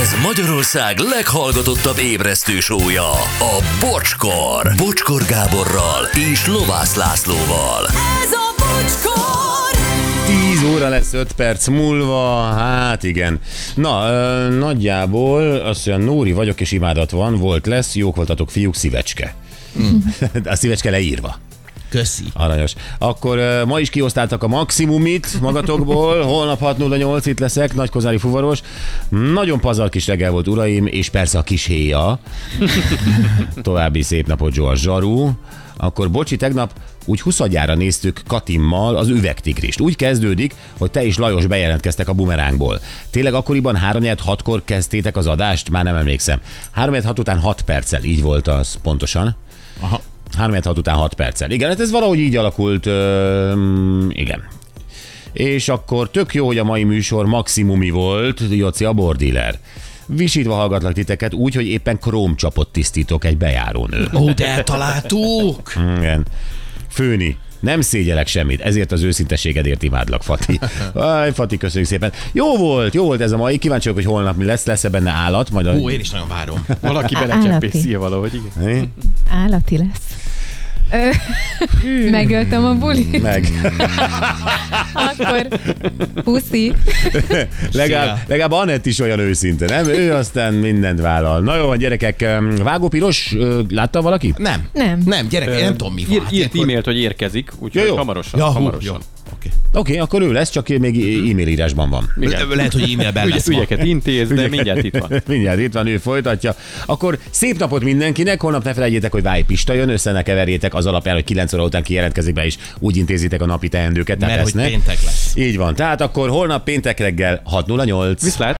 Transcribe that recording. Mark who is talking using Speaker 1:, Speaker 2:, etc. Speaker 1: Ez Magyarország leghallgatottabb ébresztő sója, a Bocskor. Bocskor Gáborral és Lovász Lászlóval.
Speaker 2: Ez a bocskor!
Speaker 3: 10 óra lesz 5 perc múlva, hát igen. Na, ö, nagyjából azt mondja, Nóri vagyok és imádat van, volt lesz, jók voltatok fiúk, szívecske. Mm. A szívecske leírva.
Speaker 4: Köszi.
Speaker 3: Aranyos. Akkor ö, ma is kiosztáltak a maximumit magatokból, holnap 6.08 itt leszek, nagykozári fuvaros. Nagyon pazar kis reggel volt, uraim, és persze a kis héja. További szép napot, Zsoa Zsaru. Akkor bocsi, tegnap úgy huszadjára néztük Katimmal az üvegtigrist. Úgy kezdődik, hogy te és Lajos bejelentkeztek a bumerángból. Tényleg akkoriban 3 6 kor kezdtétek az adást? Már nem emlékszem. 3 6 után 6 perccel, így volt az pontosan. Aha. 3 6 után 6 perccel. Igen, hát ez valahogy így alakult. Ö, igen. És akkor tök jó, hogy a mai műsor maximumi volt, Joci a bordealer. Visítva hallgatlak titeket úgy, hogy éppen krómcsapot tisztítok egy bejárónő.
Speaker 4: Ó, de eltaláltuk!
Speaker 5: Hm.
Speaker 3: Igen. Főni. Nem szégyelek semmit, ezért az őszinteségedért imádlak, Fati. Aj, Fati, köszönjük szépen. Jó volt, jó volt ez a mai. Kíváncsi vagyok, hogy holnap mi lesz, lesz-e benne állat, majd a...
Speaker 4: Ó, én is nagyon várom.
Speaker 5: Valaki
Speaker 6: Állati.
Speaker 5: belecsempészi valahogy, igen.
Speaker 3: Mi?
Speaker 6: Állati lesz. Ö, Megöltem a bulit,
Speaker 3: Meg.
Speaker 6: akkor puszi.
Speaker 3: legalább, legalább Anett is olyan őszinte, nem? Ő aztán mindent vállal. Na jó, van, gyerekek, em, vágópiros, ö, látta valaki?
Speaker 4: Nem.
Speaker 6: Nem.
Speaker 4: Nem, gyerek, én nem tudom mi van.
Speaker 5: Ír,
Speaker 4: Hát
Speaker 5: írt
Speaker 4: ilyenkor-
Speaker 5: e-mailt, hogy érkezik,
Speaker 3: Jó,
Speaker 5: úgyhogy
Speaker 3: jó.
Speaker 5: hamarosan.
Speaker 4: Ja, hú, jó.
Speaker 5: hamarosan.
Speaker 4: Oké.
Speaker 3: Oké, okay, akkor ő lesz, csak még e- e-mail írásban van.
Speaker 5: Igen.
Speaker 4: Le- Lehet, hogy e-mailben
Speaker 5: Ügy,
Speaker 4: lesz ma.
Speaker 5: ügyeket intéz, de mindjárt itt van.
Speaker 3: Mindjárt itt van, ő folytatja. Akkor szép napot mindenkinek, holnap ne felejtjétek, hogy Váj Pista jön, össze ne keverjétek az alapján, hogy 9 óra után kijelentkezik be, és úgy intézitek a napi teendőket. tehát
Speaker 4: Mert hogy
Speaker 3: lesznek.
Speaker 4: péntek lesz.
Speaker 3: Így van, tehát akkor holnap péntek reggel 6.08.
Speaker 5: Viszlát.